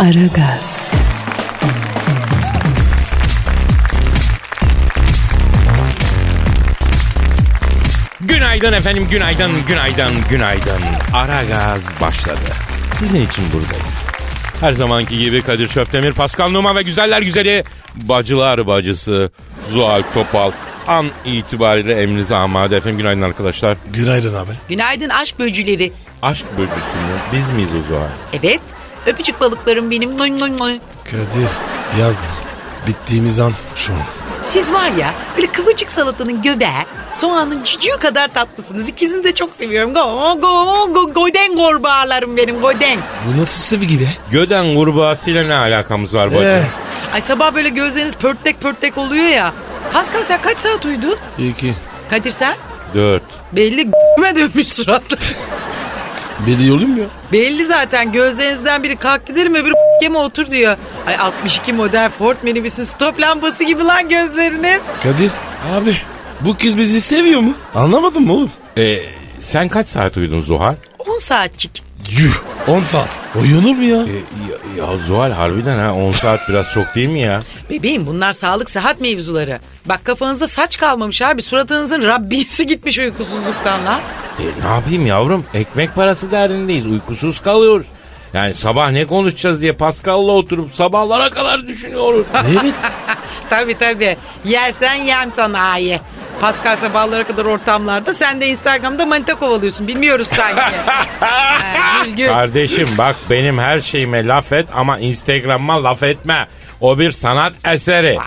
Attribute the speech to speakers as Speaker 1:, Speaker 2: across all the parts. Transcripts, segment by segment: Speaker 1: Aragaz,
Speaker 2: Günaydın efendim, günaydın, günaydın, günaydın. Ara gaz başladı. Sizin için buradayız. Her zamanki gibi Kadir Çöptemir, Pascal Numa ve güzeller güzeli bacılar bacısı Zuhal Topal. An itibariyle emrinize amade efendim. Günaydın arkadaşlar.
Speaker 3: Günaydın abi.
Speaker 4: Günaydın aşk böcüleri.
Speaker 2: Aşk böcüsü mü? Biz miyiz o Zuhal?
Speaker 4: Evet. Öpücük balıklarım benim. Noy noy noy.
Speaker 3: Kadir yaz bunu. Bittiğimiz an şu an.
Speaker 4: Siz var ya böyle kıvırcık salatanın göbeği, soğanın cücüğü kadar tatlısınız. İkisini de çok seviyorum. Go go go goden gorbağalarım benim goden.
Speaker 3: Bu nasıl sıvı gibi?
Speaker 2: Göden kurbağasıyla ne alakamız var bacı?
Speaker 3: Ee,
Speaker 4: Ay sabah böyle gözleriniz pörtlek pörtlek oluyor ya. Pascal sen kaç saat uyudun?
Speaker 3: iyi ki.
Speaker 4: Kadir sen?
Speaker 2: Dört.
Speaker 4: Belli g***me dönmüş suratlı.
Speaker 3: Beli olayım ya.
Speaker 4: Belli zaten gözlerinizden biri kalk gidelim öbürü yeme otur diyor. Ay 62 model Ford minibüsün stop lambası gibi lan gözleriniz.
Speaker 3: Kadir abi bu kız bizi seviyor mu? Anlamadım mı oğlum?
Speaker 2: Ee, sen kaç saat uyudun Zuhal?
Speaker 4: 10 saatçik.
Speaker 3: Yuh 10 saat. Uyunur mu ya? E,
Speaker 2: Ee, ya, ya Zuhal harbiden ha 10 saat biraz çok değil mi ya?
Speaker 4: Bebeğim bunlar sağlık sıhhat mevzuları. Bak kafanızda saç kalmamış abi suratınızın Rabbisi gitmiş uykusuzluktan lan.
Speaker 2: E, ne yapayım yavrum? Ekmek parası derdindeyiz. Uykusuz kalıyoruz. Yani sabah ne konuşacağız diye Pascal'la oturup sabahlara kadar düşünüyoruz.
Speaker 3: evet.
Speaker 4: Tabi tabi yersen yem sana ayi. Pascal sabahlara kadar ortamlarda sen de Instagram'da manita kovalıyorsun bilmiyoruz sanki. Ha, gül gül.
Speaker 2: Kardeşim bak benim her şeyime laf et ama Instagram'a laf etme. O bir sanat eseri.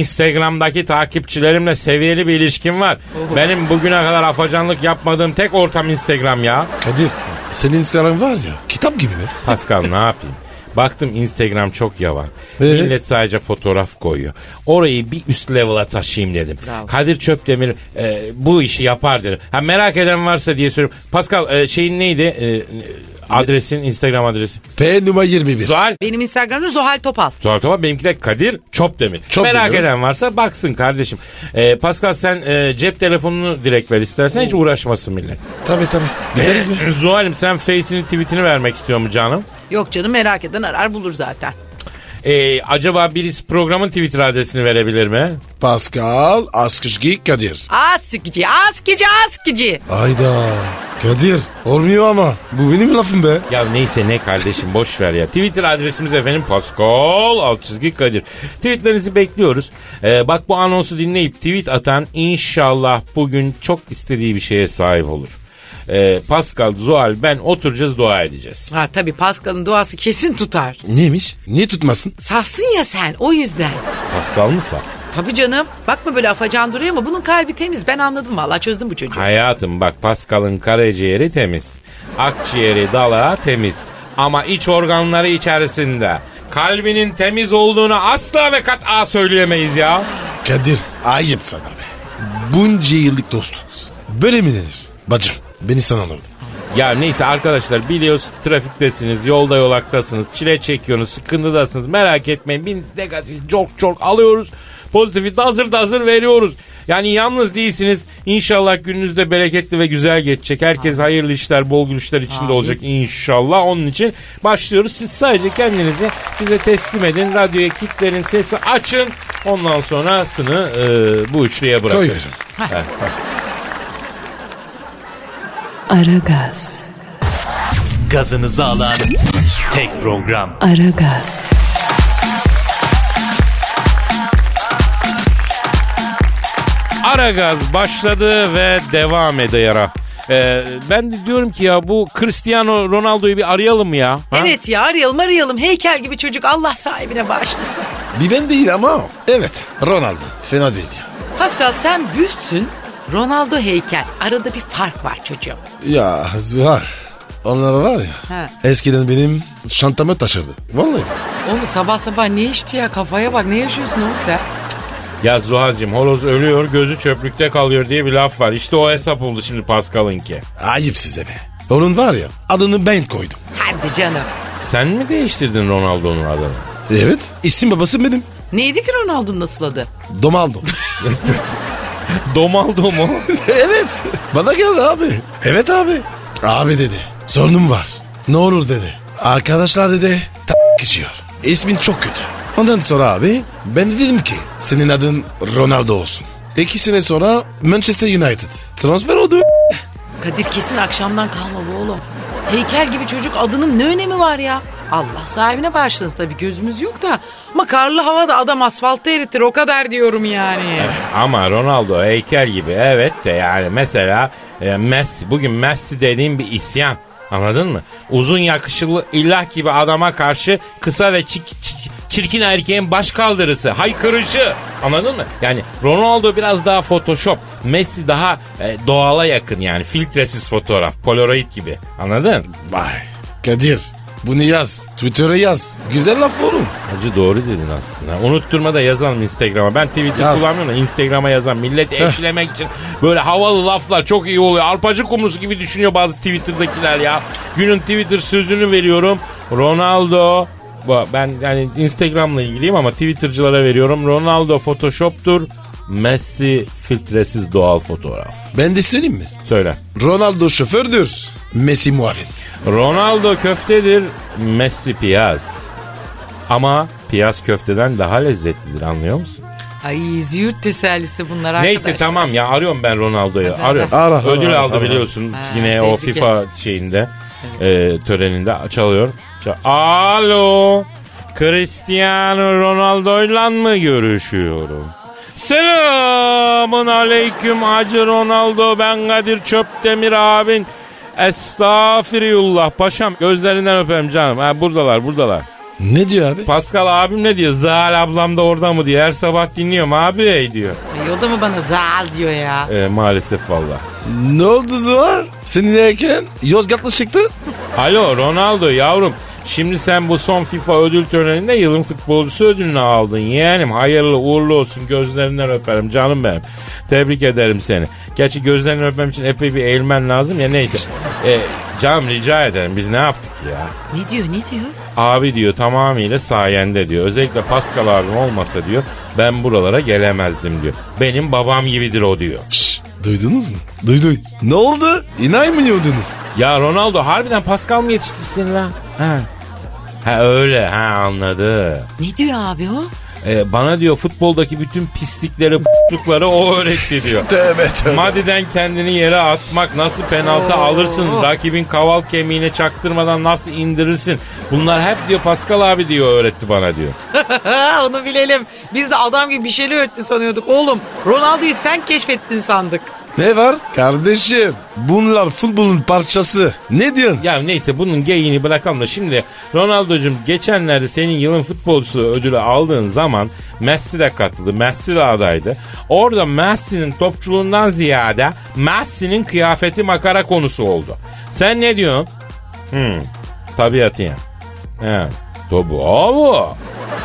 Speaker 2: Instagram'daki takipçilerimle seviyeli bir ilişkim var. Benim bugüne kadar afacanlık yapmadığım tek ortam Instagram ya.
Speaker 3: Kadir senin sarın var ya kitap gibi mi?
Speaker 2: Pascal ne yapayım? Baktım Instagram çok yavan.
Speaker 3: Ee?
Speaker 2: Millet sadece fotoğraf koyuyor. Orayı bir üst level'a taşıyayım dedim. Kadir Çöpdemir e, bu işi yapar dedim. Ha merak eden varsa diye soruyorum. Pascal e, şeyin neydi? E, adresin Instagram adresi.
Speaker 3: P numara 21.
Speaker 2: Zuhal.
Speaker 4: Benim Instagram'da Zuhal Topal.
Speaker 2: Zuhal Topal benimki de Kadir Çöpdemir.
Speaker 3: Çöpdemir.
Speaker 2: merak eden varsa baksın kardeşim. E, Pascal sen e, cep telefonunu direkt ver istersen hiç uğraşmasın millet.
Speaker 3: Tabii tabii. Biteriz mi?
Speaker 2: Zuhal'im sen face'ini tweetini vermek istiyor mu canım?
Speaker 4: Yok canım merak eden arar bulur zaten.
Speaker 2: Ee, acaba birisi programın Twitter adresini verebilir mi?
Speaker 3: Pascal Askışgi Kadir.
Speaker 4: Askici askici askici.
Speaker 3: Ayda. Kadir olmuyor ama. Bu benim lafım be.
Speaker 2: Ya neyse ne kardeşim boş ver ya. Twitter adresimiz efendim Pascal alt çizgi Kadir. Tweetlerinizi bekliyoruz. Ee, bak bu anonsu dinleyip tweet atan inşallah bugün çok istediği bir şeye sahip olur. Ee, Pascal, Zuhal, ben oturacağız dua edeceğiz.
Speaker 4: Ha tabii Pascal'ın duası kesin tutar.
Speaker 3: Neymiş? Niye tutmasın?
Speaker 4: Safsın ya sen o yüzden.
Speaker 2: Pascal mı saf?
Speaker 4: Tabii canım. Bakma böyle afacan duruyor ama bunun kalbi temiz. Ben anladım valla çözdüm bu çocuğu.
Speaker 2: Hayatım bak Pascal'ın karaciğeri temiz. Akciğeri dalağı temiz. Ama iç organları içerisinde. Kalbinin temiz olduğunu asla ve kat'a söyleyemeyiz ya.
Speaker 3: Kadir ayıp sana be. Bunca yıllık dostluğumuz. Böyle mi denir? Bacım beni sana anladın.
Speaker 2: Ya neyse arkadaşlar biliyoruz trafiktesiniz, yolda yolaktasınız, çile çekiyorsunuz, sıkıntıdasınız. Merak etmeyin biz negatifi çok çok alıyoruz. Pozitifi de hazır da hazır veriyoruz. Yani yalnız değilsiniz. İnşallah gününüz de bereketli ve güzel geçecek. Herkes hayırlı işler, bol gülüşler içinde olacak inşallah. Onun için başlıyoruz. Siz sadece kendinizi bize teslim edin. Radyoya kitlerin sesi açın. Ondan sonrasını e, bu üçlüye bırakın.
Speaker 3: Koy verin.
Speaker 1: Aragaz,
Speaker 5: gazınızı alan tek program.
Speaker 1: Aragaz,
Speaker 2: Aragaz başladı ve devam ediyor. Ee, ben de diyorum ki ya bu Cristiano Ronaldo'yu bir arayalım ya. Ha?
Speaker 4: Evet ya arayalım arayalım. Heykel gibi çocuk Allah sahibine bağışlasın.
Speaker 3: Bir ben değil ama o. Evet Ronaldo. Fena değil ya.
Speaker 4: Pascal sen büstsün. Ronaldo heykel. Arada bir fark var çocuğum.
Speaker 3: Ya Zuhar Onlar var ya.
Speaker 4: Ha.
Speaker 3: Eskiden benim şantama taşırdı. Vallahi.
Speaker 4: Oğlum sabah sabah ne içti ya kafaya bak ne yaşıyorsun oğlum sen?
Speaker 2: Ya Zuhal'cığım horoz ölüyor gözü çöplükte kalıyor diye bir laf var. İşte o hesap oldu şimdi Pascal'ınki.
Speaker 3: Ayıp size be. Onun var ya adını ben koydum.
Speaker 4: Hadi canım.
Speaker 2: Sen mi değiştirdin Ronaldo'nun adını?
Speaker 3: Evet. İsim babası benim.
Speaker 4: Neydi ki Ronaldo'nun nasıl adı?
Speaker 3: Domaldo.
Speaker 2: Domaldo mu?
Speaker 3: evet. Bana geldi abi. Evet abi. Abi dedi. Sorunum var. Ne olur dedi. Arkadaşlar dedi. Ta- içiyor. İsmin çok kötü. Ondan sonra abi ben de dedim ki senin adın Ronaldo olsun. İki sene sonra Manchester United. Transfer oldu.
Speaker 4: Kadir kesin akşamdan kalmalı oğlum. Heykel gibi çocuk adının ne önemi var ya? Allah sahibine bağışlasın tabii gözümüz yok da. Ama karlı havada adam asfaltta eritir o kadar diyorum yani.
Speaker 2: Ama Ronaldo heykel gibi evet de yani mesela e, Messi bugün Messi dediğim bir isyan. Anladın mı? Uzun yakışıklı illah gibi adama karşı kısa ve çik- çik- çirkin erkeğin baş kaldırısı, haykırışı. Anladın mı? Yani Ronaldo biraz daha Photoshop, Messi daha e, doğala yakın yani filtresiz fotoğraf, Polaroid gibi. Anladın?
Speaker 3: Vay. Kadir bunu yaz. Twitter'a yaz. Güzel laf oğlum.
Speaker 2: Hacı doğru dedin aslında. Unutturma da yazalım Instagram'a. Ben Twitter
Speaker 3: Yaz.
Speaker 2: kullanmıyorum da Instagram'a yazan millet eşlemek için böyle havalı laflar çok iyi oluyor. Arpacı kumrusu gibi düşünüyor bazı Twitter'dakiler ya. Günün Twitter sözünü veriyorum. Ronaldo Bu- ben yani Instagram'la ilgiliyim ama Twitter'cılara veriyorum. Ronaldo Photoshop'tur. Messi filtresiz doğal fotoğraf.
Speaker 3: Ben de söyleyeyim mi?
Speaker 2: Söyle.
Speaker 3: Ronaldo şofördür. Messi muavin.
Speaker 2: Ronaldo köftedir, Messi piyaz. Ama piyaz köfteden daha lezzetlidir anlıyor musun?
Speaker 4: Ay züğürt tesellisi bunlar arkadaşlar.
Speaker 2: Neyse tamam ya arıyorum ben Ronaldo'yu.
Speaker 4: Hadi,
Speaker 2: Arıyorum.
Speaker 3: hadi. Ara, ara,
Speaker 2: Ödül
Speaker 3: ara,
Speaker 2: aldı
Speaker 3: ara.
Speaker 2: biliyorsun
Speaker 4: Ha,
Speaker 2: yine o
Speaker 4: tebrik
Speaker 2: FIFA şeyinde e, töreninde çalıyor. Çal- Alo. Cristiano Ronaldo'yla mı görüşüyorum? Selamun aleyküm Hacı Ronaldo ben Kadir Çöptemir abin. Estağfirullah paşam gözlerinden öperim canım. Ha, buradalar buradalar.
Speaker 3: Ne diyor abi?
Speaker 2: Pascal abim ne diyor? Zal ablam da orada mı diyor. Her sabah dinliyorum abi diyor.
Speaker 4: Ay, o da mı bana zal diyor ya.
Speaker 2: E, maalesef valla.
Speaker 3: Ne oldu Zuhar? Seni derken Yozgatlı çıktı.
Speaker 2: Alo Ronaldo yavrum. Şimdi sen bu son FIFA ödül töreninde yılın futbolcusu ödülünü aldın yeğenim. Hayırlı uğurlu olsun gözlerinden öperim canım benim. Tebrik ederim seni. Gerçi gözlerinden öpmem için epey bir eğilmen lazım ya neyse. E, canım rica ederim biz ne yaptık ya?
Speaker 4: Ne diyor ne diyor?
Speaker 2: Abi diyor tamamıyla sayende diyor. Özellikle Pascal abim olmasa diyor ben buralara gelemezdim diyor. Benim babam gibidir o diyor.
Speaker 3: Şşş, duydunuz mu? Duyduy. Ne oldu? İnanmıyordunuz.
Speaker 2: Ya Ronaldo harbiden Pascal mı yetiştirsin lan? Ha. Ha öyle ha anladı.
Speaker 4: Ne diyor abi o?
Speaker 2: Ee, bana diyor futboldaki bütün pislikleri p***lukları o öğretti diyor.
Speaker 3: Tövbe tövbe.
Speaker 2: Madiden kendini yere atmak nasıl penaltı
Speaker 4: Oo.
Speaker 2: alırsın rakibin kaval kemiğine çaktırmadan nasıl indirirsin bunlar hep diyor Pascal abi diyor öğretti bana diyor.
Speaker 4: Onu bilelim. Biz de adam gibi bir şeyler öğretti sanıyorduk oğlum. Ronaldo'yu sen keşfettin sandık.
Speaker 3: Ne var? Kardeşim bunlar futbolun parçası. Ne diyorsun?
Speaker 2: Ya neyse bunun geyini bırakalım da şimdi Ronaldo'cum geçenlerde senin yılın futbolcusu ödülü aldığın zaman Messi de katıldı. Messi de adaydı. Orada Messi'nin topçuluğundan ziyade Messi'nin kıyafeti makara konusu oldu. Sen ne diyorsun? Hmm, tabiatı yani. He, tabi abi.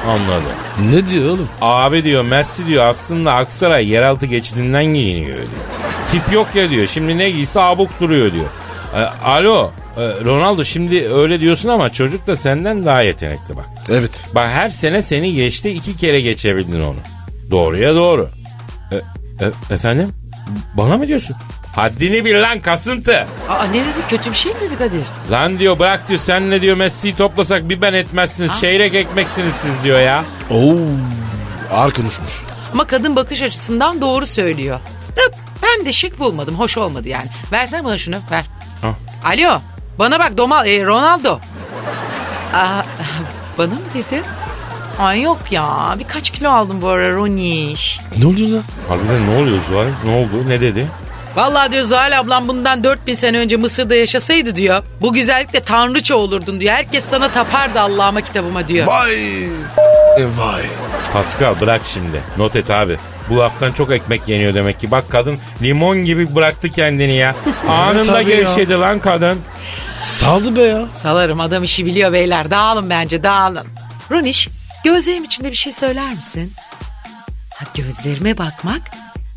Speaker 2: Anladım.
Speaker 3: Ne diyor oğlum?
Speaker 2: Abi diyor Messi diyor aslında Aksaray yeraltı geçidinden giyiniyor diyor. Tip yok ya diyor. Şimdi ne giyse abuk duruyor diyor. E, alo e, Ronaldo şimdi öyle diyorsun ama çocuk da senden daha yetenekli bak.
Speaker 3: Evet.
Speaker 2: Bak her sene seni geçti iki kere geçebildin onu. Doğruya doğru. E, e, efendim? Bana mı diyorsun? Haddini bil lan kasıntı.
Speaker 4: Aa ne dedi kötü bir şey mi dedi Kadir?
Speaker 2: Lan diyor bırak diyor senle diyor Messi'yi toplasak bir ben etmezsiniz. Çeyrek ekmeksiniz siz diyor ya.
Speaker 3: Oo. Ağır konuşmuş.
Speaker 4: Ama kadın bakış açısından doğru söylüyor. Da ben de şık bulmadım. Hoş olmadı yani. Versene bana şunu. Ver.
Speaker 2: Al.
Speaker 4: Alo. Bana bak Domal, e, Ronaldo. Aa, bana mı dedi? Ay yok ya. Birkaç kilo aldım bu ara Roniş.
Speaker 3: Ne oluyor lan?
Speaker 2: Harbiden ne oluyor Zuhal? Ne oldu? Ne dedi?
Speaker 4: Vallahi diyor Zuhal ablam bundan 4000 sene önce Mısır'da yaşasaydı diyor. Bu güzellikle tanrıça olurdun diyor. Herkes sana tapardı Allah'ıma kitabıma diyor.
Speaker 3: Vay. E, Vay.
Speaker 2: Pascal bırak şimdi. Not et abi. Bu laftan çok ekmek yeniyor demek ki. Bak kadın limon gibi bıraktı kendini ya. Anında
Speaker 3: Tabii ya.
Speaker 2: gevşedi lan kadın.
Speaker 3: Saldı be ya.
Speaker 4: Salarım adam işi biliyor beyler. Dağılın bence dağılın. Runiş gözlerim içinde bir şey söyler misin? Ha, gözlerime bakmak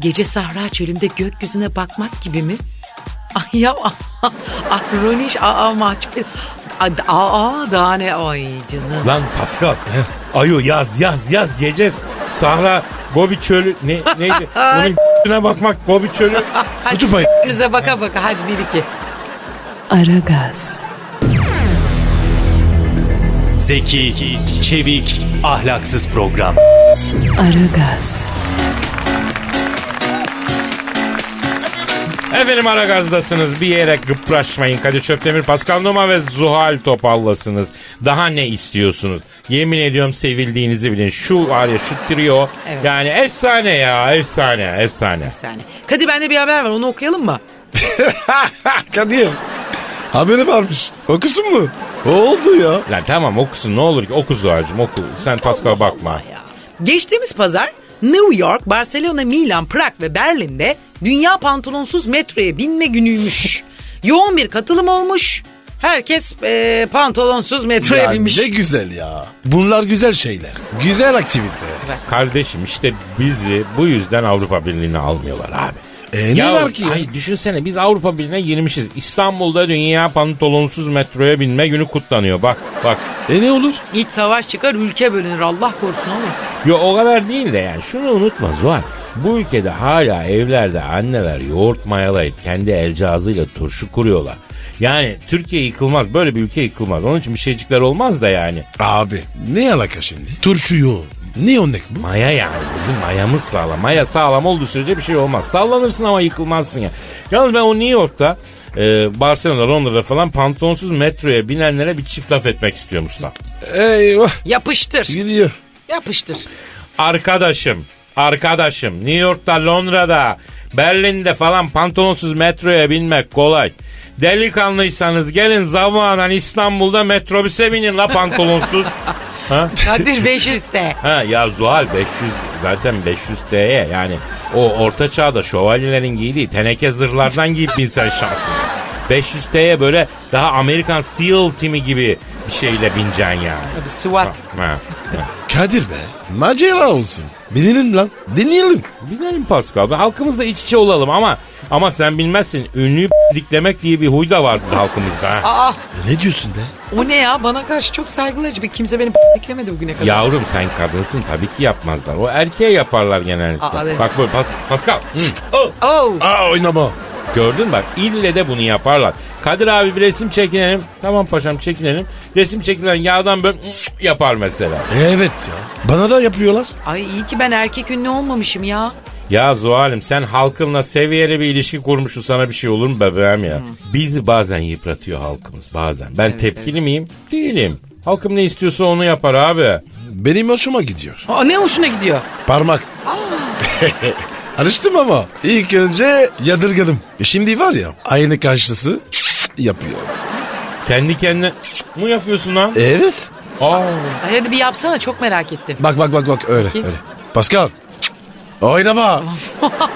Speaker 4: gece sahra çölünde gökyüzüne bakmak gibi mi? Ay ya ah, Runiş aa mahcup. Ah, Aa, aa daha ne ay canım.
Speaker 2: Lan Pascal. Ayo yaz yaz yaz gecez. Sahra Gobi çölü ne, neydi? Bunun üstüne bakmak Gobi çölü.
Speaker 4: Hadi
Speaker 3: Kutup ayı.
Speaker 4: önünüze baka baka hadi bir iki.
Speaker 1: Aragaz,
Speaker 5: Zeki, çevik, ahlaksız program.
Speaker 1: Aragaz,
Speaker 2: Efendim ara gazdasınız. Bir yere gıpraşmayın. Kadir Çöptemir, Pascal Numa ve Zuhal Topallasınız. Daha ne istiyorsunuz? Yemin ediyorum sevildiğinizi bilin. Şu var ya şu trio.
Speaker 4: Evet.
Speaker 2: Yani efsane ya efsane efsane.
Speaker 4: Bir saniye. Kadir bende bir haber var onu okuyalım mı?
Speaker 3: Kadir. Haberi varmış. Okusun mu? Oldu ya.
Speaker 2: Lan tamam okusun ne olur ki oku Zuhal'cığım oku. Sen Pascal bakma.
Speaker 4: Geçtiğimiz pazar New York, Barcelona, Milan, Prag ve Berlin'de dünya pantolonsuz metroya binme günüymüş. Yoğun bir katılım olmuş. Herkes eee, pantolonsuz metroya
Speaker 3: Ya
Speaker 4: binmiş.
Speaker 3: ne güzel ya. Bunlar güzel şeyler. Güzel aktivite.
Speaker 2: Kardeşim işte bizi bu yüzden Avrupa Birliği'ne almıyorlar abi.
Speaker 3: E, ne var ki ya?
Speaker 2: Ay düşünsene biz Avrupa Birliği'ne girmişiz. İstanbul'da dünya pantolonsuz metroya binme günü kutlanıyor. Bak bak.
Speaker 3: E ne olur?
Speaker 4: İç savaş çıkar ülke bölünür Allah korusun oğlum.
Speaker 2: Yo o kadar değil de yani şunu unutma Zuhal. Bu ülkede hala evlerde anneler yoğurt mayalayıp kendi el cihazıyla turşu kuruyorlar. Yani Türkiye yıkılmaz böyle bir ülke yıkılmaz. Onun için bir şeycikler olmaz da yani.
Speaker 3: Abi ne alaka şimdi? Turşu yoğun. Ne örnek bu?
Speaker 2: Maya yani bizim mayamız sağlam. Maya sağlam olduğu sürece bir şey olmaz. Sallanırsın ama yıkılmazsın ya. Yalnız ben o New York'ta e, Barcelona'da Londra'da falan pantonsuz metroya binenlere bir çift laf etmek istiyorum usta.
Speaker 3: Eyvah.
Speaker 4: Yapıştır
Speaker 3: Gidiyor.
Speaker 4: yapıştır.
Speaker 2: Arkadaşım, arkadaşım New York'ta, Londra'da, Berlin'de falan pantolonsuz metroya binmek kolay. Delikanlıysanız gelin zamanen İstanbul'da metrobüse binin la pantolonsuz. ha?
Speaker 4: Kadir 500 de.
Speaker 2: Ha ya Zuhal 500 zaten 500 T'ye yani o orta çağda şövalyelerin giydiği teneke zırhlardan giyip binsen şansın. 500 T'ye böyle daha Amerikan SEAL timi gibi bir şeyle bineceksin yani.
Speaker 4: Tabii SWAT.
Speaker 2: Ha.
Speaker 3: Kadir be. Macera olsun. Binelim lan. Deneyelim.
Speaker 2: Bilelim Pascal. Ben Halkımızla iç içe olalım ama ama sen bilmezsin. Ünlüyü diklemek diye bir huy da vardı halkımızda. ha.
Speaker 4: Aa
Speaker 3: Ya E, ne diyorsun be?
Speaker 4: o ne ya bana karşı çok saygılı acaba kimse beni beklemedi bugüne kadar.
Speaker 2: Yavrum sen kadınsın tabii ki yapmazlar. O erkeğe yaparlar genellikle.
Speaker 4: Aa, evet.
Speaker 2: Bak böyle Pas- Pascal. Hı. Oh.
Speaker 4: Oh.
Speaker 3: Aa oynama.
Speaker 2: Gördün mü bak ille de bunu yaparlar. Kadir abi bir resim çekinelim. Tamam paşam çekinelim. Resim çekilen yağdan böyle yapar mesela.
Speaker 3: E, Evet ya. Bana da yapıyorlar.
Speaker 4: Ay iyi ki ben erkek ünlü olmamışım ya.
Speaker 2: Ya Zuhal'im sen halkınla seviyeli bir ilişki kurmuşsun sana bir şey olur mu bebeğim ya? Bizi bazen yıpratıyor halkımız bazen. Ben tepkili miyim? Değilim. Halkım ne istiyorsa onu yapar abi.
Speaker 3: Benim hoşuma gidiyor.
Speaker 4: Aa, ne hoşuna gidiyor.
Speaker 3: Parmak. Alıştım ama. İlk önce yadırgadım. E, Şimdi var ya aynı karşısı yapıyor. E,
Speaker 2: Kendi kendine mu yapıyorsun lan?
Speaker 3: Evet.
Speaker 2: Aa,
Speaker 4: Ay, hadi bir yapsana çok merak ettim.
Speaker 3: Bak bak bak bak öyle
Speaker 4: Bakayım.
Speaker 3: öyle. Pascal. Oynama.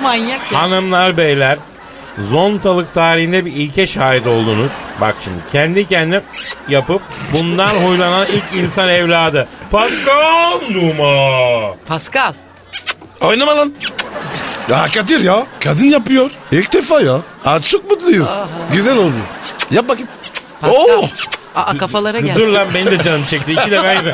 Speaker 4: Manyak ya.
Speaker 2: hanımlar beyler zontalık tarihinde bir ilke şahit oldunuz. Bak şimdi kendi kendine yapıp bundan huylanan ilk insan evladı. Pascal Numa.
Speaker 4: Pascal.
Speaker 3: Oynama lan. Ya Kadir ya. Kadın yapıyor. İlk defa ya. Aa, çok mutluyuz. Güzel oldu. Yap bakayım.
Speaker 4: Pascal.
Speaker 3: Oo.
Speaker 4: Aa, kafalara gel.
Speaker 2: Dur lan benim de canım çekti. İki de ben gibi.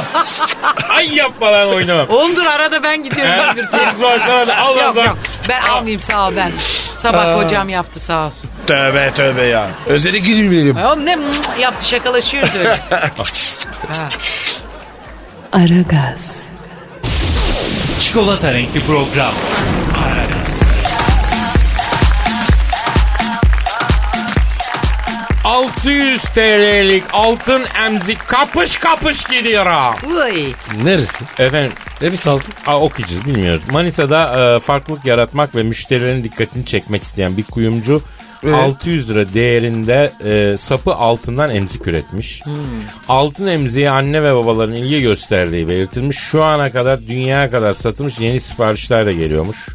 Speaker 2: Ay yapma lan oynamam.
Speaker 4: Oğlum dur arada ben gidiyorum. bir dürteyim.
Speaker 2: Zuhal sana da al
Speaker 4: yok
Speaker 2: al, al.
Speaker 4: yok ben almayayım sağ ol ben. Sabah hocam yaptı sağ olsun.
Speaker 3: Tövbe tövbe ya. Özele girmeyelim.
Speaker 4: Ay Oğlum ne mm yaptı şakalaşıyoruz öyle.
Speaker 1: Aragaz,
Speaker 5: Çikolata renkli program. Aragaz.
Speaker 2: 600 TL'lik altın emzik kapış kapış gidiyor ha.
Speaker 4: Uy.
Speaker 3: Neresi?
Speaker 2: Efendim
Speaker 3: Evi saldı.
Speaker 2: Aa, okuyacağız bilmiyoruz. Manisa'da e, farklılık yaratmak ve müşterilerin dikkatini çekmek isteyen bir kuyumcu
Speaker 3: Evet.
Speaker 2: 600 lira değerinde e, sapı altından emzik üretmiş.
Speaker 3: Hmm.
Speaker 2: Altın emziğe anne ve babaların ilgi gösterdiği belirtilmiş. Şu ana kadar dünyaya kadar satılmış yeni siparişler de geliyormuş.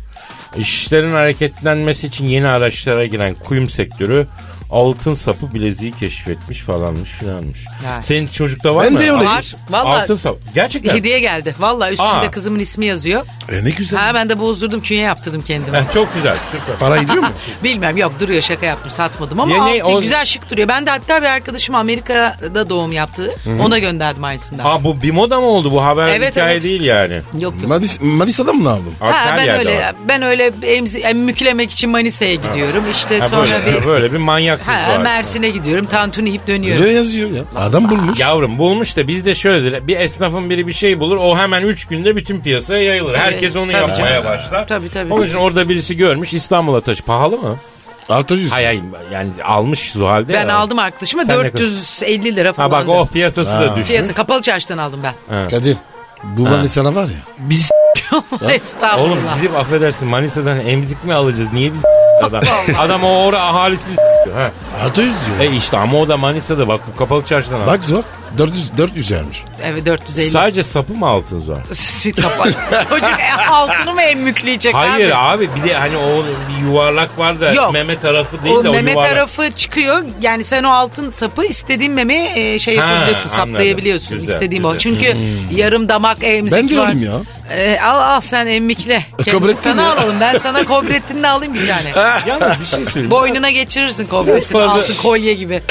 Speaker 2: İşlerin hareketlenmesi için yeni araçlara giren kuyum sektörü altın sapı bileziği keşfetmiş falanmış filanmış.
Speaker 4: Ya.
Speaker 2: Senin çocukta var
Speaker 3: Ben
Speaker 2: mı?
Speaker 3: de öyle.
Speaker 4: Var. Vallahi-
Speaker 2: Altın sapı. Gerçekten.
Speaker 4: Hediye geldi. Valla üstünde
Speaker 2: Aa.
Speaker 4: kızımın ismi yazıyor.
Speaker 3: E ne güzel.
Speaker 4: Ha ben de bozdurdum künye yaptırdım kendime.
Speaker 2: Heh, çok güzel süper.
Speaker 3: Para gidiyor mu?
Speaker 4: Bilmem yok duruyor şaka yaptım satmadım ama
Speaker 2: Yeni-
Speaker 4: altı-
Speaker 2: o-
Speaker 4: güzel şık duruyor. Ben de hatta bir arkadaşım Amerika'da doğum yaptı. Ona gönderdim aynısından.
Speaker 2: Ha bu bir moda mı oldu bu haber
Speaker 4: Evet,
Speaker 2: hikaye
Speaker 4: evet.
Speaker 2: değil yani.
Speaker 4: Yok yok.
Speaker 3: Manis, Manisa'da mı ne yaptın?
Speaker 2: Artık
Speaker 4: ha,
Speaker 2: her
Speaker 4: ben
Speaker 2: yerde
Speaker 4: öyle
Speaker 2: var.
Speaker 4: ben öyle emzi, em- müklemek için Manisa'ya gidiyorum. İşte
Speaker 2: Ha,
Speaker 4: sonra
Speaker 2: böyle,
Speaker 4: bir
Speaker 2: ha, böyle bir manyaklık
Speaker 4: ha,
Speaker 2: var.
Speaker 4: Mersin'e gidiyorum. Tantuni yiyip dönüyorum.
Speaker 3: Öyle yazıyor ya. Adam bulmuş.
Speaker 2: Yavrum bulmuş da bizde şöyledir. Bir esnafın biri bir şey bulur. O hemen 3 günde bütün piyasaya yayılır.
Speaker 4: Tabii,
Speaker 2: Herkes onu
Speaker 4: tabii
Speaker 2: yapmaya
Speaker 4: canım.
Speaker 2: başlar.
Speaker 4: Tabii, tabii.
Speaker 2: Onun için orada birisi görmüş İstanbul'a taşı. Pahalı mı?
Speaker 3: Artı yüz.
Speaker 2: Hay hay yani almış Zuhal'de.
Speaker 4: Ben
Speaker 2: ya.
Speaker 4: aldım arkadaşıma
Speaker 2: Sen ne
Speaker 4: 450 lira falan.
Speaker 2: Ha bak
Speaker 4: da.
Speaker 2: oh piyasası da düşmüş.
Speaker 4: Piyasa kapalı çarşıdan aldım ben.
Speaker 3: Kadir. Bu Manisa'na var ya. Biz
Speaker 4: Estağfurullah.
Speaker 2: Oğlum gidip affedersin Manisa'dan emzik mi alacağız? Niye biz adam? adam o ora ahalisini ha.
Speaker 3: artı yüz diyor.
Speaker 2: E işte ama o da Manisa'da bak bu kapalı çarşıdan almış.
Speaker 3: Bak zor. 400, 400 yermiş.
Speaker 4: Evet 450.
Speaker 2: Sadece sapı mı altın zor?
Speaker 4: Sapan. Çocuk e, altını mı emmükleyecek
Speaker 2: Hayır
Speaker 4: abi?
Speaker 2: abi. bir de hani o bir yuvarlak var da
Speaker 4: E, Yok.
Speaker 2: meme tarafı değil
Speaker 4: O
Speaker 2: de o
Speaker 4: meme
Speaker 2: yuvarlak.
Speaker 4: tarafı çıkıyor. Yani sen o altın sapı istediğin meme e, şey
Speaker 2: Ha,
Speaker 4: yapabiliyorsun,
Speaker 2: anladım.
Speaker 4: saplayabiliyorsun.
Speaker 2: Güzel,
Speaker 4: istediğin
Speaker 2: güzel. Hmm.
Speaker 4: o. Çünkü yarım damak emzik
Speaker 3: Ben de
Speaker 4: var.
Speaker 3: öyleyim ya.
Speaker 4: E, al al sen emmikle. Kendini
Speaker 3: Kobrettin
Speaker 4: sana
Speaker 3: ya.
Speaker 4: alalım. Ben sana kobrettinini alayım bir tane.
Speaker 2: Yalnız bir şey söyleyeyim.
Speaker 4: Boynuna geçirirsin
Speaker 2: Biraz
Speaker 4: kobrettin
Speaker 2: fazla-
Speaker 4: altın kolye gibi.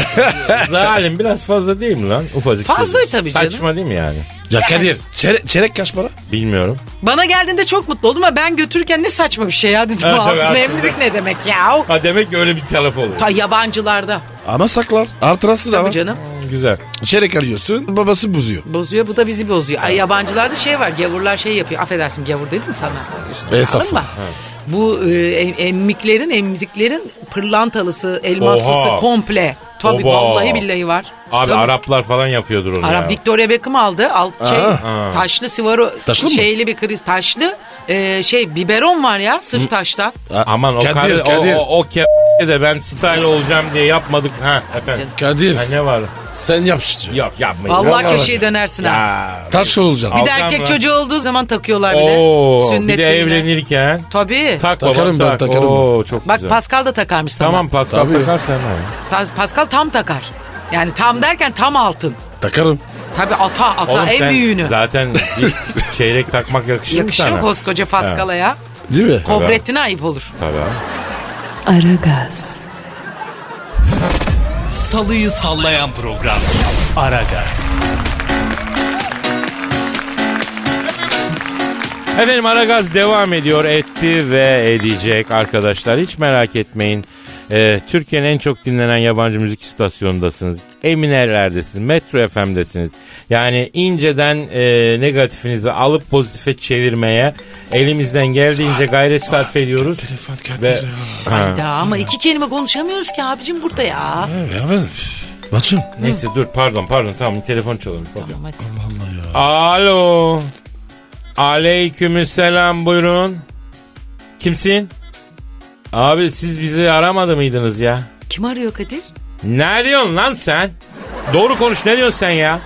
Speaker 2: Zalim biraz fazla değil mi lan? Ufacık.
Speaker 4: Fazla
Speaker 2: çocuk.
Speaker 4: tabii canım.
Speaker 2: Saçma değil mi yani?
Speaker 3: Ya Kadir. Çere, çeyrek kaç para?
Speaker 2: Bilmiyorum.
Speaker 4: Bana geldiğinde çok mutlu oldum ama ben götürürken ne saçma bir şey ya dedim.
Speaker 2: Evet,
Speaker 4: bu
Speaker 2: tabii,
Speaker 4: altın
Speaker 2: aslında.
Speaker 4: emzik ne demek ya?
Speaker 2: Ha demek ki öyle bir taraf oluyor.
Speaker 4: Ta yabancılarda.
Speaker 3: Ama saklar. Artırası da
Speaker 4: Tabii
Speaker 3: var.
Speaker 4: canım.
Speaker 2: Hmm, Güzel.
Speaker 3: Çeyrek arıyorsun. Babası bozuyor.
Speaker 4: Bozuyor bu da bizi bozuyor. Ay, yabancılarda şey var gavurlar şey yapıyor. Affedersin gavur dedim sana. Üstüne
Speaker 3: Estağfurullah.
Speaker 4: alınma. Bu e, em- emmiklerin emziklerin pırlantalısı elmaslısı
Speaker 2: Oha.
Speaker 4: komple. Tabii
Speaker 2: Oba.
Speaker 4: vallahi billahi var.
Speaker 2: Abi
Speaker 4: Tabii.
Speaker 2: Araplar falan yapıyordur onu
Speaker 4: Arap
Speaker 2: ya.
Speaker 4: Victoria Beckham aldı. Alt şey,
Speaker 2: Aa.
Speaker 4: taşlı sivaro
Speaker 3: Taşlı mı?
Speaker 4: şeyli bir kriz taşlı e, şey biberon var ya sırf taştan.
Speaker 2: Aman o
Speaker 3: Kadir,
Speaker 2: kar-
Speaker 3: Kadir.
Speaker 2: o, o, o ke- de ben style olacağım diye yapmadık. Ha efendim.
Speaker 3: Kadir.
Speaker 2: Ha, ne var?
Speaker 3: Sen yap şu.
Speaker 2: Yok yapmayın.
Speaker 4: Vallahi
Speaker 3: Vallahi
Speaker 4: köşeye dönersin ha.
Speaker 2: Ya.
Speaker 3: Taş olacaksın.
Speaker 4: Bir de
Speaker 2: Alsam
Speaker 4: erkek
Speaker 2: lan.
Speaker 4: çocuğu olduğu zaman takıyorlar bir de.
Speaker 2: Oo, bir de
Speaker 4: Sünnetliğine.
Speaker 2: evlenirken.
Speaker 4: Tabii.
Speaker 2: Tak
Speaker 3: Takarım
Speaker 2: baba,
Speaker 3: ben,
Speaker 2: tak.
Speaker 3: takarım.
Speaker 2: Oo, çok
Speaker 4: Bak
Speaker 2: güzel.
Speaker 4: Pascal da takarmış sana.
Speaker 2: Tamam Pascal
Speaker 3: Tabii.
Speaker 2: takar sen ha.
Speaker 4: Ta- Pascal tam takar. Yani tam derken tam altın.
Speaker 3: Takarım.
Speaker 4: Tabii ata ata
Speaker 2: Oğlum
Speaker 4: en
Speaker 2: sen
Speaker 4: büyüğünü.
Speaker 2: Zaten biz çeyrek takmak yakışır,
Speaker 4: Yakışır
Speaker 2: mı
Speaker 4: mı
Speaker 2: sana?
Speaker 4: koskoca Pascal'a ya?
Speaker 3: Değil mi?
Speaker 4: Kobrettin'e ayıp olur.
Speaker 2: Tabii abi.
Speaker 1: Aragaz,
Speaker 5: Salıyı sallayan program. Aragaz.
Speaker 2: Efendim Aragaz devam ediyor etti ve edecek arkadaşlar hiç merak etmeyin. Ee, Türkiye'nin en çok dinlenen yabancı müzik istasyonundasınız. Emineler'desiniz, Metro FM'desiniz. Yani inceden e, negatifinizi alıp pozitife çevirmeye elimizden geldiğince gayret sarf ediyoruz.
Speaker 3: Telefon
Speaker 2: Ve,
Speaker 3: Kadir.
Speaker 2: Ha,
Speaker 4: Ya ama iki kelime konuşamıyoruz ki abicim burada ya.
Speaker 3: Ya ben... Maçım.
Speaker 2: neyse dur pardon pardon tamam telefon çalalım.
Speaker 4: Tamam hadi.
Speaker 2: Alo. Aleykümselam buyurun. Kimsin? Abi siz bizi aramadı mıydınız ya?
Speaker 4: Kim arıyor Kadir?
Speaker 2: Ne diyorsun lan sen? Doğru konuş ne diyorsun sen ya?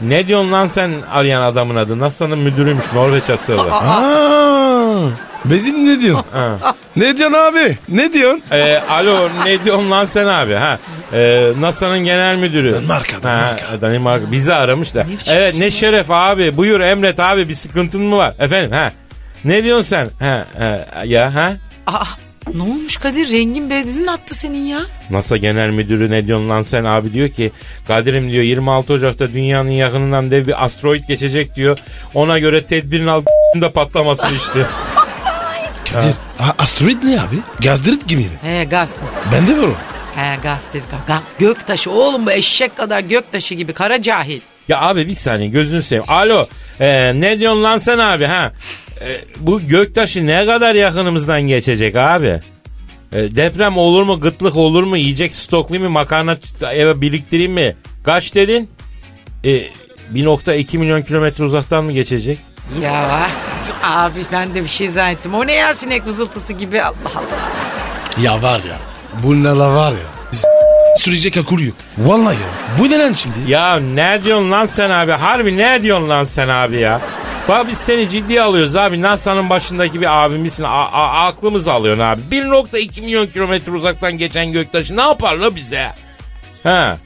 Speaker 2: Ne diyorsun lan sen arayan adamın adı? NASA'nın müdürüymüş Norveç asıllı.
Speaker 3: Aa, Bezin ne diyorsun?
Speaker 2: Ha.
Speaker 3: ne diyorsun abi? Ne diyorsun?
Speaker 2: Ee, alo ne diyorsun lan sen abi? Ha. Ee, NASA'nın genel müdürü.
Speaker 3: Danimarka, Danimarka.
Speaker 2: Ha, e, Danimarka. Bizi aramış da. evet ne şeref abi. Buyur Emret abi bir sıkıntın mı var? Efendim ha. Ne diyorsun sen? Ha, ha, ya ha?
Speaker 4: Aa, ne olmuş Kadir? Rengin bezin attı senin ya.
Speaker 2: NASA Genel Müdürü ne diyorsun lan sen abi diyor ki Kadir'im diyor 26 Ocak'ta dünyanın yakınından dev bir asteroid geçecek diyor. Ona göre tedbirin al da patlamasın işte.
Speaker 3: Kadir. a- Asteroid ne abi? Gazdirit gibi mi?
Speaker 4: He gaz.
Speaker 3: Bende var o.
Speaker 4: He gaz. gaz- Göktaşı oğlum bu eşek kadar göktaşı gibi kara cahil.
Speaker 2: ya abi bir saniye gözünü seveyim. Alo e, ne diyorsun lan sen abi ha? E, bu göktaşı ne kadar yakınımızdan geçecek abi? E, deprem olur mu? Gıtlık olur mu? Yiyecek stoklayayım mı? Makarna eve biriktireyim mi? Kaç dedin? E, 1.2 milyon kilometre uzaktan mı geçecek?
Speaker 4: Ya abi ben de bir şey zannettim. O ne ya sinek vızıltısı gibi Allah Allah.
Speaker 3: Ya var ya. Bunlarla var ya. s- Sürecek akıl yok. Vallahi ya. Bu ne lan şimdi?
Speaker 2: Ya ne diyorsun lan sen abi? Harbi ne diyorsun lan sen abi ya? Bak biz seni ciddiye alıyoruz abi. NASA'nın başındaki bir abimizsin. A- a- aklımızı alıyorsun abi. 1.2 milyon kilometre uzaktan geçen göktaşı ne yapar la bize? Ha.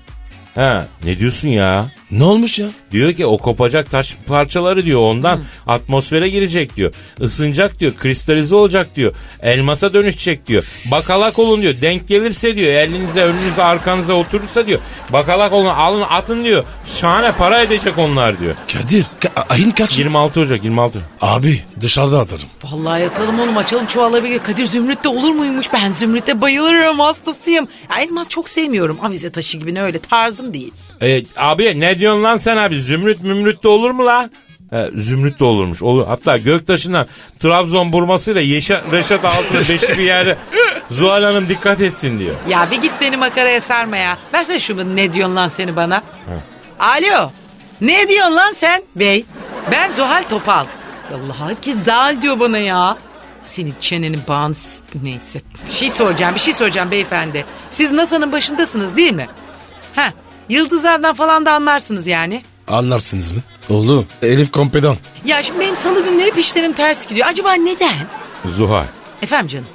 Speaker 2: Ha. Ne diyorsun ya?
Speaker 3: Ne olmuş ya?
Speaker 2: Diyor ki o kopacak taş parçaları diyor ondan atmosfere girecek diyor. Isınacak diyor, kristalize olacak diyor. Elmasa dönüşecek diyor. Bakalak olun diyor. Denk gelirse diyor. Elinize, önünüze, arkanıza oturursa diyor. Bakalak olun, alın atın diyor. Şahane para edecek onlar diyor.
Speaker 3: Kadir. Ka- ayın kaç?
Speaker 2: 26 Ocak 26.
Speaker 3: Abi dışarıda atarım.
Speaker 4: Vallahi yatalım oğlum açalım çoğalabilir. Kadir zümrütte olur muymuş? Ben zümrütte bayılırım hastasıyım. Ya elmas çok sevmiyorum. Avize taşı gibi ne öyle tarzım değil.
Speaker 2: E, abi ne diyorsun lan sen abi? Zümrüt mümrüt de olur mu lan? E, zümrüt de olurmuş. Olur. Hatta Göktaş'ından Trabzon burmasıyla Yeşa, Reşat altına beşi bir yerde Zuhal Hanım dikkat etsin diyor.
Speaker 4: Ya bir git beni makaraya sarma ya. Versene şunu ne diyorsun lan seni bana. Alo. Ne diyorsun lan sen bey? Ben Zuhal Topal. Allah herkes Zal diyor bana ya. Senin çenenin bağın... Neyse. Bir şey soracağım, bir şey soracağım beyefendi. Siz NASA'nın başındasınız değil mi? Ha, yıldızlardan falan da anlarsınız yani.
Speaker 3: Anlarsınız mı? Oğlum Elif kompedan.
Speaker 4: Ya şimdi benim salı günleri hep işlerim ters gidiyor. Acaba neden?
Speaker 2: Zuhal.
Speaker 4: Efendim canım,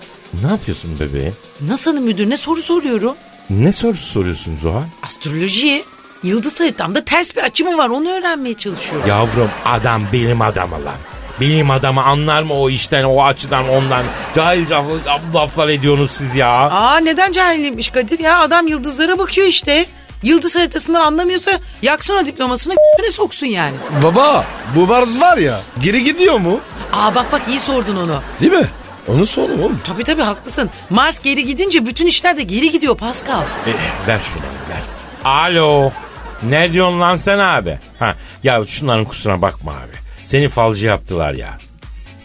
Speaker 2: Ne yapıyorsun bebeğim?
Speaker 4: NASA'nın müdürüne soru soruyorum.
Speaker 2: Ne sorusu soruyorsun Zuhal?
Speaker 4: Astroloji, yıldız haritamda ters bir açı mı var onu öğrenmeye çalışıyorum.
Speaker 2: Yavrum adam bilim adamı lan. Bilim adamı anlar mı o işten, o açıdan, ondan? Cahil laf, laf- laflar ediyorsunuz siz ya.
Speaker 4: Aa neden cahilmiş Kadir ya adam yıldızlara bakıyor işte. Yıldız haritasından anlamıyorsa yaksın o diplomasını ne soksun yani.
Speaker 3: Baba bu barz var ya geri gidiyor mu?
Speaker 4: Aa bak bak iyi sordun onu.
Speaker 3: Değil mi? Onu sor oğlum.
Speaker 4: Tabii tabii haklısın. Mars geri gidince bütün işler de geri gidiyor Pascal.
Speaker 2: Eh, ver şunu ver. Alo. Ne diyorsun lan sen abi? Ha, ya şunların kusuruna bakma abi. Seni falcı yaptılar ya.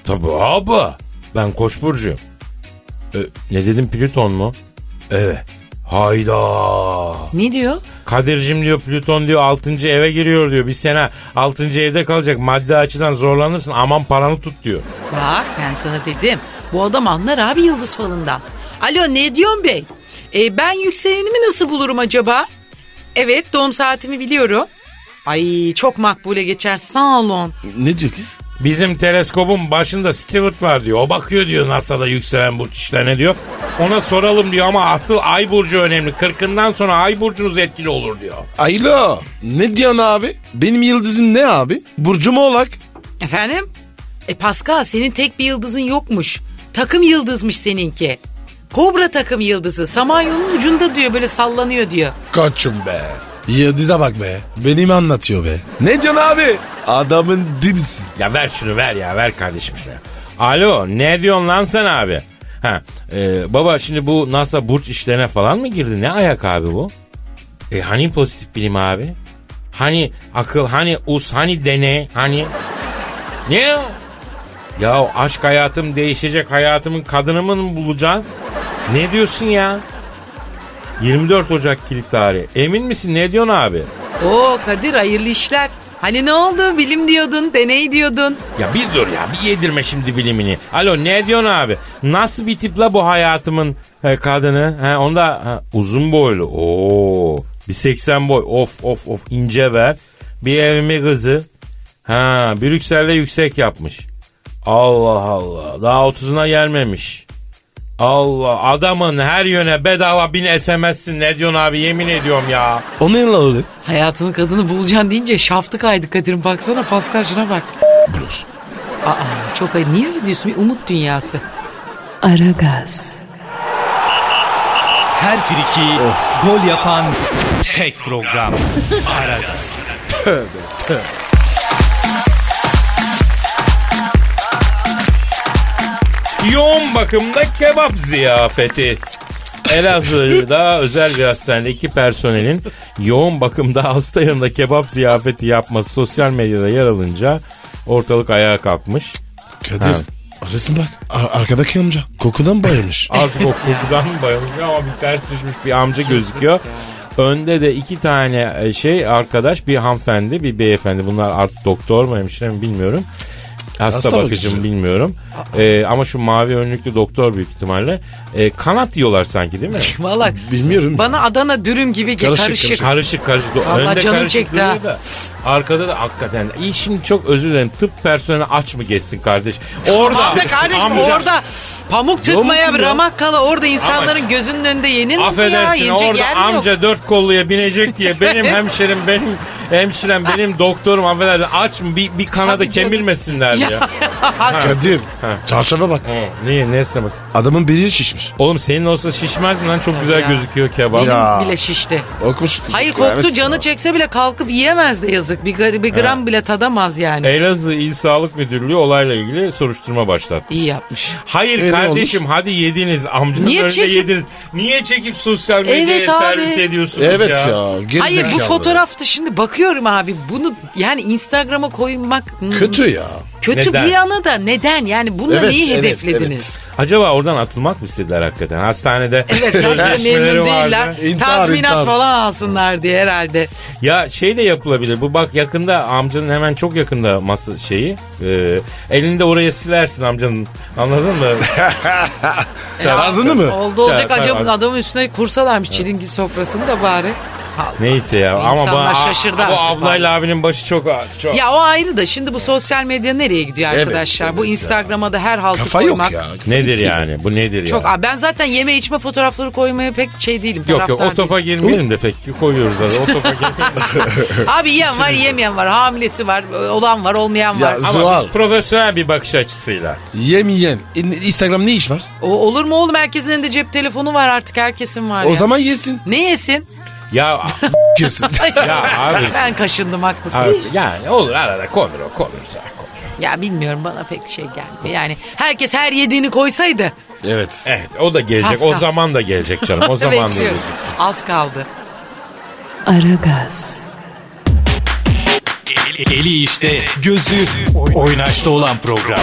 Speaker 2: Tabii abi. Ben koç burcuyum. E, ne dedim Plüton mu? Evet. Hayda.
Speaker 4: Ne diyor?
Speaker 2: Kadir'cim diyor Plüton diyor 6. eve giriyor diyor. Bir sene 6. evde kalacak. Madde açıdan zorlanırsın. Aman paranı tut diyor.
Speaker 4: Bak ben sana dedim. Bu adam anlar abi yıldız falından. Alo ne diyorsun bey? E, ben yükselenimi nasıl bulurum acaba? Evet doğum saatimi biliyorum. Ay çok makbule geçer sağ olun.
Speaker 3: Ne diyor kız?
Speaker 2: Bizim teleskobun başında Stewart var diyor. O bakıyor diyor NASA'da yükselen burç işlerine diyor. Ona soralım diyor ama asıl ay burcu önemli. Kırkından sonra ay burcunuz etkili olur diyor.
Speaker 3: Aylo ne diyorsun abi? Benim yıldızım ne abi? Burcum oğlak.
Speaker 4: Efendim? E Pascal senin tek bir yıldızın yokmuş. Takım yıldızmış seninki. Kobra takım yıldızı. Samanyolu'nun ucunda diyor böyle sallanıyor diyor.
Speaker 3: Koçum be. Yıldıza bak be. Benim anlatıyor be. Ne diyorsun abi? Adamın dibsin.
Speaker 2: Ya ver şunu ver ya ver kardeşim şunu. Alo ne diyorsun lan sen abi? Ha, e, baba şimdi bu NASA burç işlerine falan mı girdi? Ne ayak abi bu? E hani pozitif bilim abi? Hani akıl, hani us, hani deney, hani... Ne ya? Ya aşk hayatım değişecek hayatımın kadınımı mı bulacaksın? Ne diyorsun ya? 24 Ocak kilit tarihi. Emin misin ne diyorsun abi?
Speaker 4: Oo Kadir hayırlı işler. Hani ne oldu bilim diyordun deney diyordun.
Speaker 2: Ya bir dur ya bir yedirme şimdi bilimini. Alo ne diyorsun abi? Nasıl bir tip la bu hayatımın e, kadını? He, onda ha, uzun boylu. Oo. Bir 80 boy. Of of of ince ver. Bir evimi kızı. Ha, Brüksel'de yüksek yapmış. Allah Allah. Daha 30'una gelmemiş. Allah adamın her yöne bedava bin SMS'sin ne diyorsun abi yemin ediyorum ya.
Speaker 3: O ne lan öyle?
Speaker 4: Hayatının kadını bulacaksın deyince şaftı kaydı Kadir'im baksana Pascal şuna bak.
Speaker 3: Blur.
Speaker 4: Aa çok ay niye öyle diyorsun bir umut dünyası.
Speaker 1: Aragaz,
Speaker 5: Her friki gol yapan tek program. Aragaz.
Speaker 2: Yoğun bakımda kebap ziyafeti. Elazığ'da özel bir hastanede iki personelin yoğun bakımda hasta yanında kebap ziyafeti yapması sosyal medyada yer alınca ortalık ayağa kalkmış.
Speaker 3: Kadir.
Speaker 2: Ha.
Speaker 3: Resim bak. Ar- arkadaki amca kokudan bayılmış.
Speaker 2: Artık o kurgudan mı bayılmış ama bir ters düşmüş bir amca gözüküyor. Önde de iki tane e, şey arkadaş bir hanımefendi bir beyefendi bunlar artık doktor mu hemşire mi bilmiyorum. Hasta,
Speaker 3: Hasta
Speaker 2: bakıcı,
Speaker 3: bakıcı.
Speaker 2: mı bilmiyorum. E, ama şu mavi önlüklü doktor büyük ihtimalle. E, kanat yiyorlar sanki değil mi?
Speaker 4: Valla
Speaker 3: Bilmiyorum.
Speaker 4: bana Adana dürüm gibi ge-
Speaker 3: Karışık,
Speaker 4: karışık.
Speaker 3: karışık.
Speaker 2: Karışık E, karışık.
Speaker 4: Vallahi
Speaker 2: Önde
Speaker 4: canım
Speaker 2: karışık
Speaker 4: çekti
Speaker 2: duruyor
Speaker 4: ha.
Speaker 2: da. Arkada da hakikaten. İyi şimdi çok özür dilerim. Tıp personeli aç mı geçsin kardeş? Orada.
Speaker 4: Orada kardeşim
Speaker 2: amca-
Speaker 4: orada pamuk tıkmaya
Speaker 3: musun ya?
Speaker 4: ramak kala orada insanların
Speaker 2: Ama-
Speaker 4: gözünün önünde yenilmiyor. ya.
Speaker 2: Affedersin
Speaker 4: Yenecek
Speaker 2: orada
Speaker 4: yer mi yok?
Speaker 2: amca dört kolluya binecek diye benim hemşerim benim hemşirem benim doktorum affedersin aç mı bir, bir kanada
Speaker 4: Tabii canım.
Speaker 2: kemirmesinler diye.
Speaker 4: Ya.
Speaker 3: Kadir.
Speaker 2: Ha.
Speaker 3: Çarşafa bak.
Speaker 2: Hı, niye neresine bak.
Speaker 3: Adamın biri şişmiş.
Speaker 2: Oğlum senin olsa şişmez mi lan çok güzel
Speaker 4: ya.
Speaker 2: gözüküyor kebap.
Speaker 3: Ya.
Speaker 4: Bile şişti.
Speaker 3: Okumuş.
Speaker 4: Hayır koktu
Speaker 3: Evet.
Speaker 4: canı çekse bile kalkıp yiyemez de yazık. Bir, gar- bir gram bile tadamaz yani.
Speaker 2: Elazığ İl Sağlık Müdürlüğü olayla ilgili soruşturma başlatmış.
Speaker 4: İyi yapmış.
Speaker 2: Hayır
Speaker 3: E, ne
Speaker 2: kardeşim hadi yediniz amcanın
Speaker 4: Niye
Speaker 2: önünde
Speaker 4: çekip-
Speaker 2: yediniz. Niye çekip sosyal medyaya
Speaker 4: Evet abi.
Speaker 2: servis ediyorsunuz
Speaker 3: Evet
Speaker 2: ya?
Speaker 3: ya. geri
Speaker 4: Hayır bu
Speaker 3: zekalı.
Speaker 4: fotoğrafta şimdi bakıyorum abi bunu yani Instagram'a koymak hmm,
Speaker 3: Kötü ya.
Speaker 4: kötü
Speaker 2: Neden?
Speaker 4: bir yana da neden yani bununla
Speaker 3: Evet,
Speaker 4: neyi
Speaker 3: evet,
Speaker 4: hedeflediniz?
Speaker 2: Acaba oradan atılmak mı istediler hakikaten? Hastanede
Speaker 4: Evet, zaten
Speaker 2: sözleşmeleri
Speaker 4: memnun
Speaker 2: vardı.
Speaker 4: değiller.
Speaker 3: İntihar,
Speaker 4: Tazminat
Speaker 3: intihar.
Speaker 4: falan alsınlar diye herhalde.
Speaker 2: Ya şey de yapılabilir. Bu bak yakında amcanın hemen çok yakında masa şeyi. Ee, elinde oraya silersin amcanın. Anladın mı?
Speaker 3: Ağzını mı?
Speaker 4: Oldu olacak
Speaker 2: Evet,
Speaker 4: acaba
Speaker 2: evet.
Speaker 4: adamın üstüne kursalarmış çilingir sofrasını da bari.
Speaker 2: Neyse ya. Ama
Speaker 4: İnsanlar
Speaker 2: bana,
Speaker 4: şaşırdı
Speaker 2: bu
Speaker 4: artık
Speaker 2: ablayla abinin başı çok çok.
Speaker 4: Ya o ayrı da şimdi bu sosyal medya nereye gidiyor
Speaker 3: Evet,
Speaker 4: arkadaşlar?
Speaker 3: evet
Speaker 4: bu
Speaker 3: ya.
Speaker 4: Instagram'a da her haltı
Speaker 3: Kafa
Speaker 4: koymak.
Speaker 3: yok ya.
Speaker 2: Nedir yani? Bu nedir
Speaker 4: Çok
Speaker 2: ya?
Speaker 4: Aa, ben zaten yeme içme fotoğrafları koymaya pek şey değilim.
Speaker 2: Yok yok
Speaker 4: taraftar
Speaker 2: o topa girmeyelim de pek koyuyoruz zaten o topa girmeyelim.
Speaker 4: değilim. Abi yiyen var yemeyen var hamilesi var olan var olmayan
Speaker 3: Ya
Speaker 4: var.
Speaker 3: z-
Speaker 2: Ama
Speaker 3: Zuhal.
Speaker 2: biz profesyonel bir bakış açısıyla.
Speaker 3: Yem yiyen. İn- E, Instagram ne iş var?
Speaker 4: O, olur mu oğlum herkesin elinde cep telefonu var artık herkesin var
Speaker 3: O
Speaker 4: ya.
Speaker 3: zaman yesin.
Speaker 4: Ne yesin?
Speaker 2: Ya
Speaker 3: Yesin.
Speaker 2: ya abi,
Speaker 4: Ben kaşındım haklısın.
Speaker 2: abi yani olur arada konur o konur. ya, konur.
Speaker 4: Ya bilmiyorum bana pek şey gelmiyor. Yani herkes her yediğini koysaydı.
Speaker 3: evet.
Speaker 2: Evet o da gelecek o
Speaker 4: Pascal.
Speaker 2: zaman da gelecek canım o zaman da gelecek.
Speaker 4: Bekliyoruz. Az kaldı.
Speaker 1: Aragaz,
Speaker 5: Eli işte, gözü oynaşta olan program.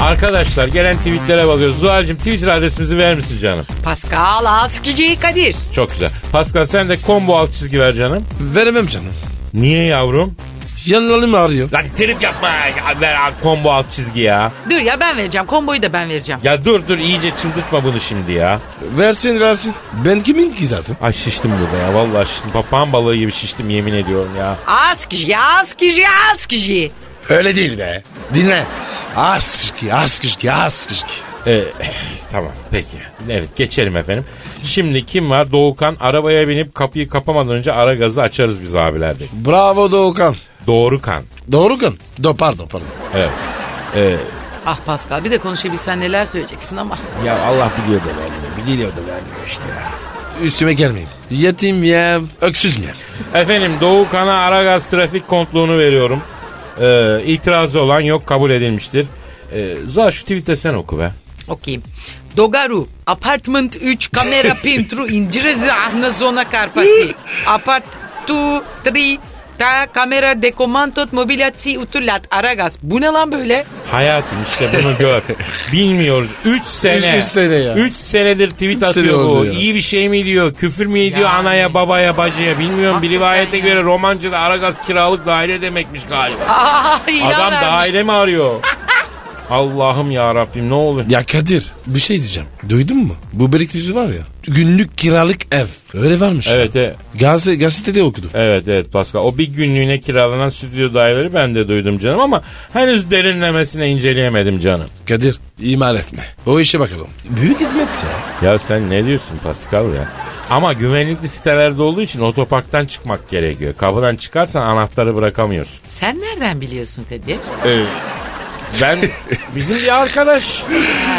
Speaker 2: Arkadaşlar gelen tweetlere bakıyoruz. Zuhal'cim Twitter adresimizi ver misin canım?
Speaker 4: Pascal Askıcı Kadir.
Speaker 2: Çok güzel. Pascal sen de combo alt çizgi ver canım.
Speaker 3: Veremem canım.
Speaker 2: Niye yavrum?
Speaker 3: Yanlarım ağrıyor.
Speaker 2: Lan trip yapma. Ya Ver al combo alt çizgi ya.
Speaker 4: Dur ya ben vereceğim. Komboyu da ben vereceğim.
Speaker 2: Ya dur dur iyice çıldırtma bunu şimdi ya.
Speaker 3: Versin versin. Ben kimin ki zaten?
Speaker 2: Ay şiştim burada ya. Vallahi şiştim. Papağan balığı gibi şiştim yemin ediyorum ya.
Speaker 4: Askıcı, Askıcı, Askıcı.
Speaker 3: Öyle değil be. Dinle. Az kışkı, az kışkı, az kışkı.
Speaker 2: Ee, tamam peki. Evet geçelim efendim. Şimdi kim var? Doğukan arabaya binip kapıyı kapamadan önce ara gazı açarız biz abiler dedi.
Speaker 3: Bravo Doğukan.
Speaker 2: Doğrukan.
Speaker 3: Doğrukan. Do, pardon pardon.
Speaker 2: Evet. Ee,
Speaker 4: Ah Pascal bir de konuşabilsen neler söyleyeceksin ama.
Speaker 2: ya Allah biliyor da vermiyor. Biliyor da vermiyor işte ya.
Speaker 3: Üstüme gelmeyin. Yetim yem, öksüz yem.
Speaker 2: Efendim Doğukan'a Aragaz trafik kontluğunu veriyorum. Ee, itirazı olan yok kabul edilmiştir. Ee, Zuhal şu tweet'te sen oku be.
Speaker 4: Okuyayım. Dogaru, apartment 3, kamera pintru, incirizi ahna zona karpati. Apart 2, 3, ta kamera dekomantot mobilyatsi utulat aragaz. Bu ne lan böyle?
Speaker 2: Hayatım işte bunu gör. Bilmiyoruz. 3 sene.
Speaker 3: Üç sene ya.
Speaker 2: Üç senedir tweet
Speaker 3: sene
Speaker 2: atıyor bu.
Speaker 3: oldu ya.
Speaker 2: İyi bir şey mi diyor? Küfür mü ediyor
Speaker 4: Yani.
Speaker 2: anaya babaya bacıya? Bilmiyorum. Bir
Speaker 4: Hakikaten
Speaker 2: rivayete
Speaker 4: ya.
Speaker 2: göre Romancı'da Aragaz kiralık daire demekmiş galiba.
Speaker 4: Aa, ilan
Speaker 2: Adam
Speaker 4: vermiş.
Speaker 2: daire mi arıyor? Allah'ım ya Rabbim ne olur.
Speaker 3: Ya Kadir bir şey diyeceğim. Duydun mu? Bu biriktirici var ya. Günlük kiralık ev. Öyle varmış.
Speaker 2: Evet, evet.
Speaker 3: Gazete, gazetede okudum.
Speaker 2: Evet evet Pascal. O bir günlüğüne kiralanan stüdyo daireleri ben de duydum canım ama henüz derinlemesine inceleyemedim canım.
Speaker 3: Kadir imal etme. O işe bakalım. Büyük hizmet ya.
Speaker 2: Ya sen ne diyorsun Pascal ya? Ama güvenlikli sitelerde olduğu için otoparktan çıkmak gerekiyor. Kapıdan çıkarsan anahtarı bırakamıyorsun.
Speaker 4: Sen nereden biliyorsun Kadir?
Speaker 2: Ben bizim bir arkadaş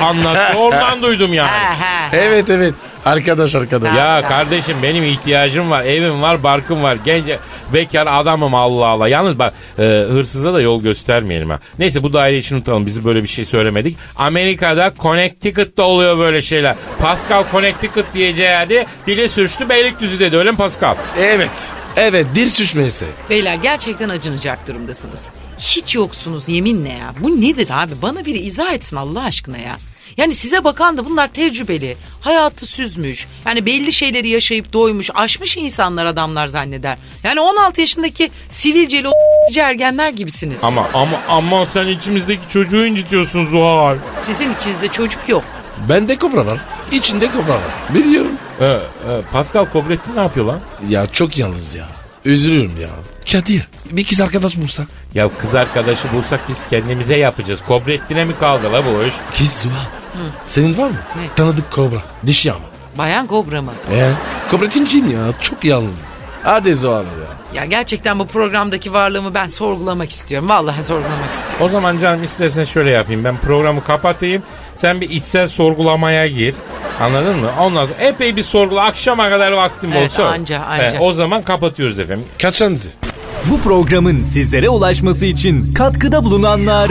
Speaker 2: anlattı oradan duydum yani.
Speaker 4: Ha, ha.
Speaker 3: Evet evet. Arkadaş arkadaş.
Speaker 4: Ya.
Speaker 2: Ya kardeşim benim ihtiyacım var. Evim var, barkım var. Genç bekar adamım Allah Allah. Yalnız bak e, hırsıza da yol göstermeyelim ha. Neyse bu daire için unutalım. Bizi böyle bir şey söylemedik. Amerika'da Connecticut'ta oluyor böyle şeyler. Pascal Connecticut diyeceği yerde dile sürçtü Beylikdüzü dedi. Öyle mi Pascal?
Speaker 3: Evet. Evet dil sürçmesi.
Speaker 4: Beyler gerçekten acınacak durumdasınız. Hiç yoksunuz yeminle ya. Bu nedir abi? Bana biri izah etsin Allah aşkına ya. Yani size bakan da bunlar tecrübeli, hayatı süzmüş, yani belli şeyleri yaşayıp doymuş, aşmış insanlar adamlar zanneder. Yani 16 yaşındaki sivilceli o ergenler gibisiniz.
Speaker 2: Ama ama ama sen içimizdeki çocuğu incitiyorsun Zuhal.
Speaker 4: Sizin içinizde çocuk yok.
Speaker 3: Bende kobra var. İçinde kobra var. Biliyorum.
Speaker 2: Ee, e, Pascal Kobretti ne yapıyor lan?
Speaker 3: Ya çok yalnız ya. Üzülürüm ya. Kadir bir kız arkadaş bulsak.
Speaker 2: Ya kız arkadaşı bulsak biz kendimize yapacağız. Kobrettin'e mi kaldı la bu iş?
Speaker 3: Kız Zuhal. Senin var mı?
Speaker 4: Ne?
Speaker 3: Tanıdık kobra. Dişi ama.
Speaker 4: Bayan kobra mı?
Speaker 3: Ee? Kobretin cin ya. Çok yalnız. Hadi Zuhal ya.
Speaker 4: Ya gerçekten bu programdaki varlığımı ben sorgulamak istiyorum. Vallahi sorgulamak istiyorum.
Speaker 2: O zaman canım istersen şöyle yapayım. Ben programı kapatayım. Sen bir içsel sorgulamaya gir. Anladın mı? Ondan sonra epey bir sorgula. Akşama kadar vaktim
Speaker 4: Evet,
Speaker 2: olsa.
Speaker 4: anca, anca.
Speaker 2: He, o zaman kapatıyoruz efendim.
Speaker 3: Kaçanızı.
Speaker 6: Bu programın sizlere ulaşması için katkıda bulunanlar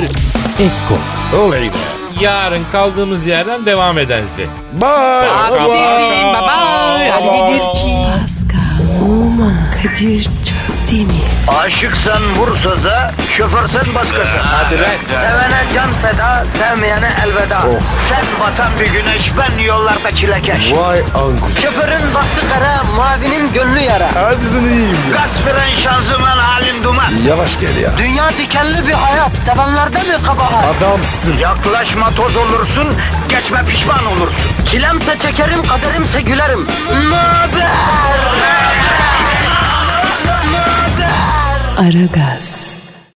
Speaker 3: Oley be.
Speaker 2: Yarın kaldığımız yerden devam edense.
Speaker 3: Bye.
Speaker 4: Abi bir film, bye bye. Hadi bir ki.
Speaker 1: Pascal, Oman, Kadir çok değil mi?
Speaker 7: Aşıksan vursa da şoförsen başkasın.
Speaker 3: Ee,
Speaker 7: Hadi
Speaker 2: lan.
Speaker 7: Sevene can feda, sevmeyene elveda.
Speaker 3: Oh.
Speaker 7: Sen batan bir güneş, ben yollarda çilekeş.
Speaker 3: Vay anku.
Speaker 7: Şoförün baktı kara, mavinin gönlü yara.
Speaker 3: Hadi sen iyiyim ya.
Speaker 7: Kasperen şanzıman halin duman.
Speaker 3: Yavaş gel ya.
Speaker 7: Dünya dikenli bir hayat, sevenlerde mi kabahar?
Speaker 3: Adamsın.
Speaker 7: Yaklaşma toz olursun, geçme pişman olursun. Çilemse çekerim, kaderimse gülerim. Möber!
Speaker 1: Aragaz.